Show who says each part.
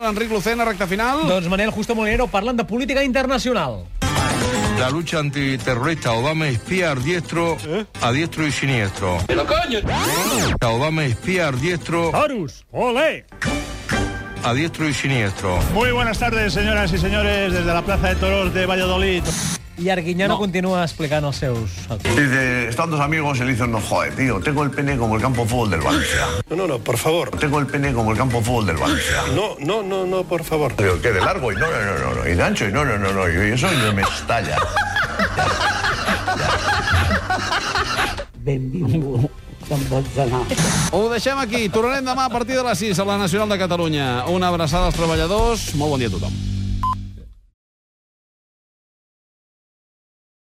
Speaker 1: Enric Lucena, recta final.
Speaker 2: Doncs Manel Justo Molinero, parlen de política internacional.
Speaker 3: La lucha antiterrorista Obama espía a diestro, a diestro y siniestro. ¡Pero coño! Obama espía a diestro,
Speaker 4: ¡Horus! ¡Ole!
Speaker 3: a diestro y siniestro.
Speaker 4: Muy buenas tardes, señoras y señores, desde la Plaza de Toros de Valladolid.
Speaker 2: I Arguiñano no. continua explicant els seus...
Speaker 5: Dice, están dos amigos y le dicen, no joder, tío, tengo el pene como el campo de fútbol del Valencia.
Speaker 6: No, no, no, por favor.
Speaker 5: Tengo el pene como el campo de fútbol del Valencia.
Speaker 6: No, no, no, no, por favor.
Speaker 5: Digo, ¿qué de largo? Y no, no, no, no, no, y de ancho, y no, no, no, no, y eso y me estalla.
Speaker 1: Ho deixem aquí. Tornarem demà a partir de les 6 a la Nacional de Catalunya. Una abraçada als treballadors. Molt bon dia a tothom.